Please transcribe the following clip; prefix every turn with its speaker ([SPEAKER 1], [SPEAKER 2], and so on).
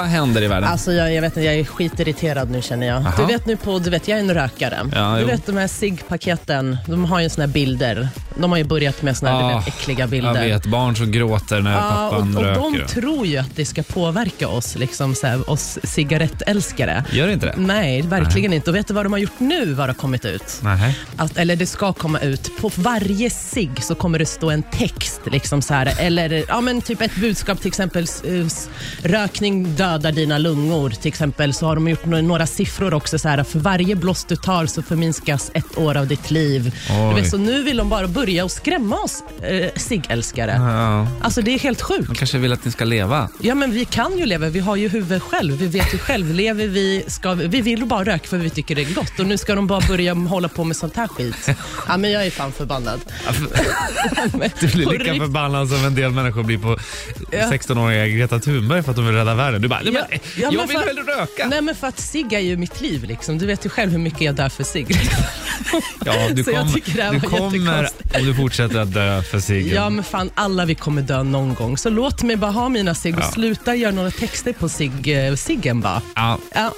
[SPEAKER 1] Vad händer i världen?
[SPEAKER 2] Alltså jag, jag vet inte, jag är skitirriterad nu känner jag.
[SPEAKER 1] Aha.
[SPEAKER 2] Du vet nu på, du vet jag är en rökare.
[SPEAKER 1] Ja,
[SPEAKER 2] du
[SPEAKER 1] jo.
[SPEAKER 2] vet de här cigg-paketen, de har ju såna här bilder. De har ju börjat med såna här du vet, äckliga bilder.
[SPEAKER 1] Ah, Jag vet, barn som gråter när
[SPEAKER 2] Ja, och,
[SPEAKER 1] pappan
[SPEAKER 2] och
[SPEAKER 1] röker.
[SPEAKER 2] de tror ju att det ska påverka oss, liksom så här, oss cigarettälskare.
[SPEAKER 1] Gör det inte det?
[SPEAKER 2] Nej, verkligen inte. Och vet du vad de har gjort nu, vad det har kommit ut?
[SPEAKER 1] Nej.
[SPEAKER 2] Att, eller det ska komma ut. På varje cigg så kommer det stå en text. Liksom så här, eller ja, men typ ett budskap, till exempel s- eh, s- rökning dödar dina lungor. Till exempel så har de gjort no- några siffror också. Så här, för varje blås du tar så förminskas ett år av ditt liv.
[SPEAKER 1] Oj.
[SPEAKER 2] Du vet, så nu vill de bara börja och skrämma oss eh, ciggälskare.
[SPEAKER 1] Ja,
[SPEAKER 2] Alltså det är helt sjukt.
[SPEAKER 1] de kanske vill att ni ska leva.
[SPEAKER 2] Ja men vi kan ju leva, vi har ju huvud själv. Vi vet ju själv, lever vi, ska vi, vi vill bara röka för vi tycker det är gott och nu ska de bara börja hålla på med sånt här skit. Ja men jag är fan förbannad.
[SPEAKER 1] Du blir
[SPEAKER 2] På
[SPEAKER 1] lika
[SPEAKER 2] rikt-
[SPEAKER 1] förbannad som en del människor blir på
[SPEAKER 2] Ja.
[SPEAKER 1] 16-åriga Greta Thunberg för att de vill rädda världen. Du bara, nej, men,
[SPEAKER 2] Ja, ja,
[SPEAKER 1] jag
[SPEAKER 2] men
[SPEAKER 1] vill
[SPEAKER 2] för-
[SPEAKER 1] väl röka?
[SPEAKER 2] Nej men för att cigg är ju mitt liv liksom. Du vet ju själv hur mycket jag dör för cigg.
[SPEAKER 1] Ja, du
[SPEAKER 2] Så jag tycker det här
[SPEAKER 1] kommer, du
[SPEAKER 2] var
[SPEAKER 1] kommer
[SPEAKER 2] jättekonstigt.
[SPEAKER 1] om du fortsätter att dö för ciggen.
[SPEAKER 2] Ja men fan alla vi kommer dö någon gång. Så låt mig bara ha mina cigg och
[SPEAKER 1] Ja.
[SPEAKER 2] sluta göra några texter på cigg- eh, ciggen bara.
[SPEAKER 1] Ja,
[SPEAKER 2] Ja.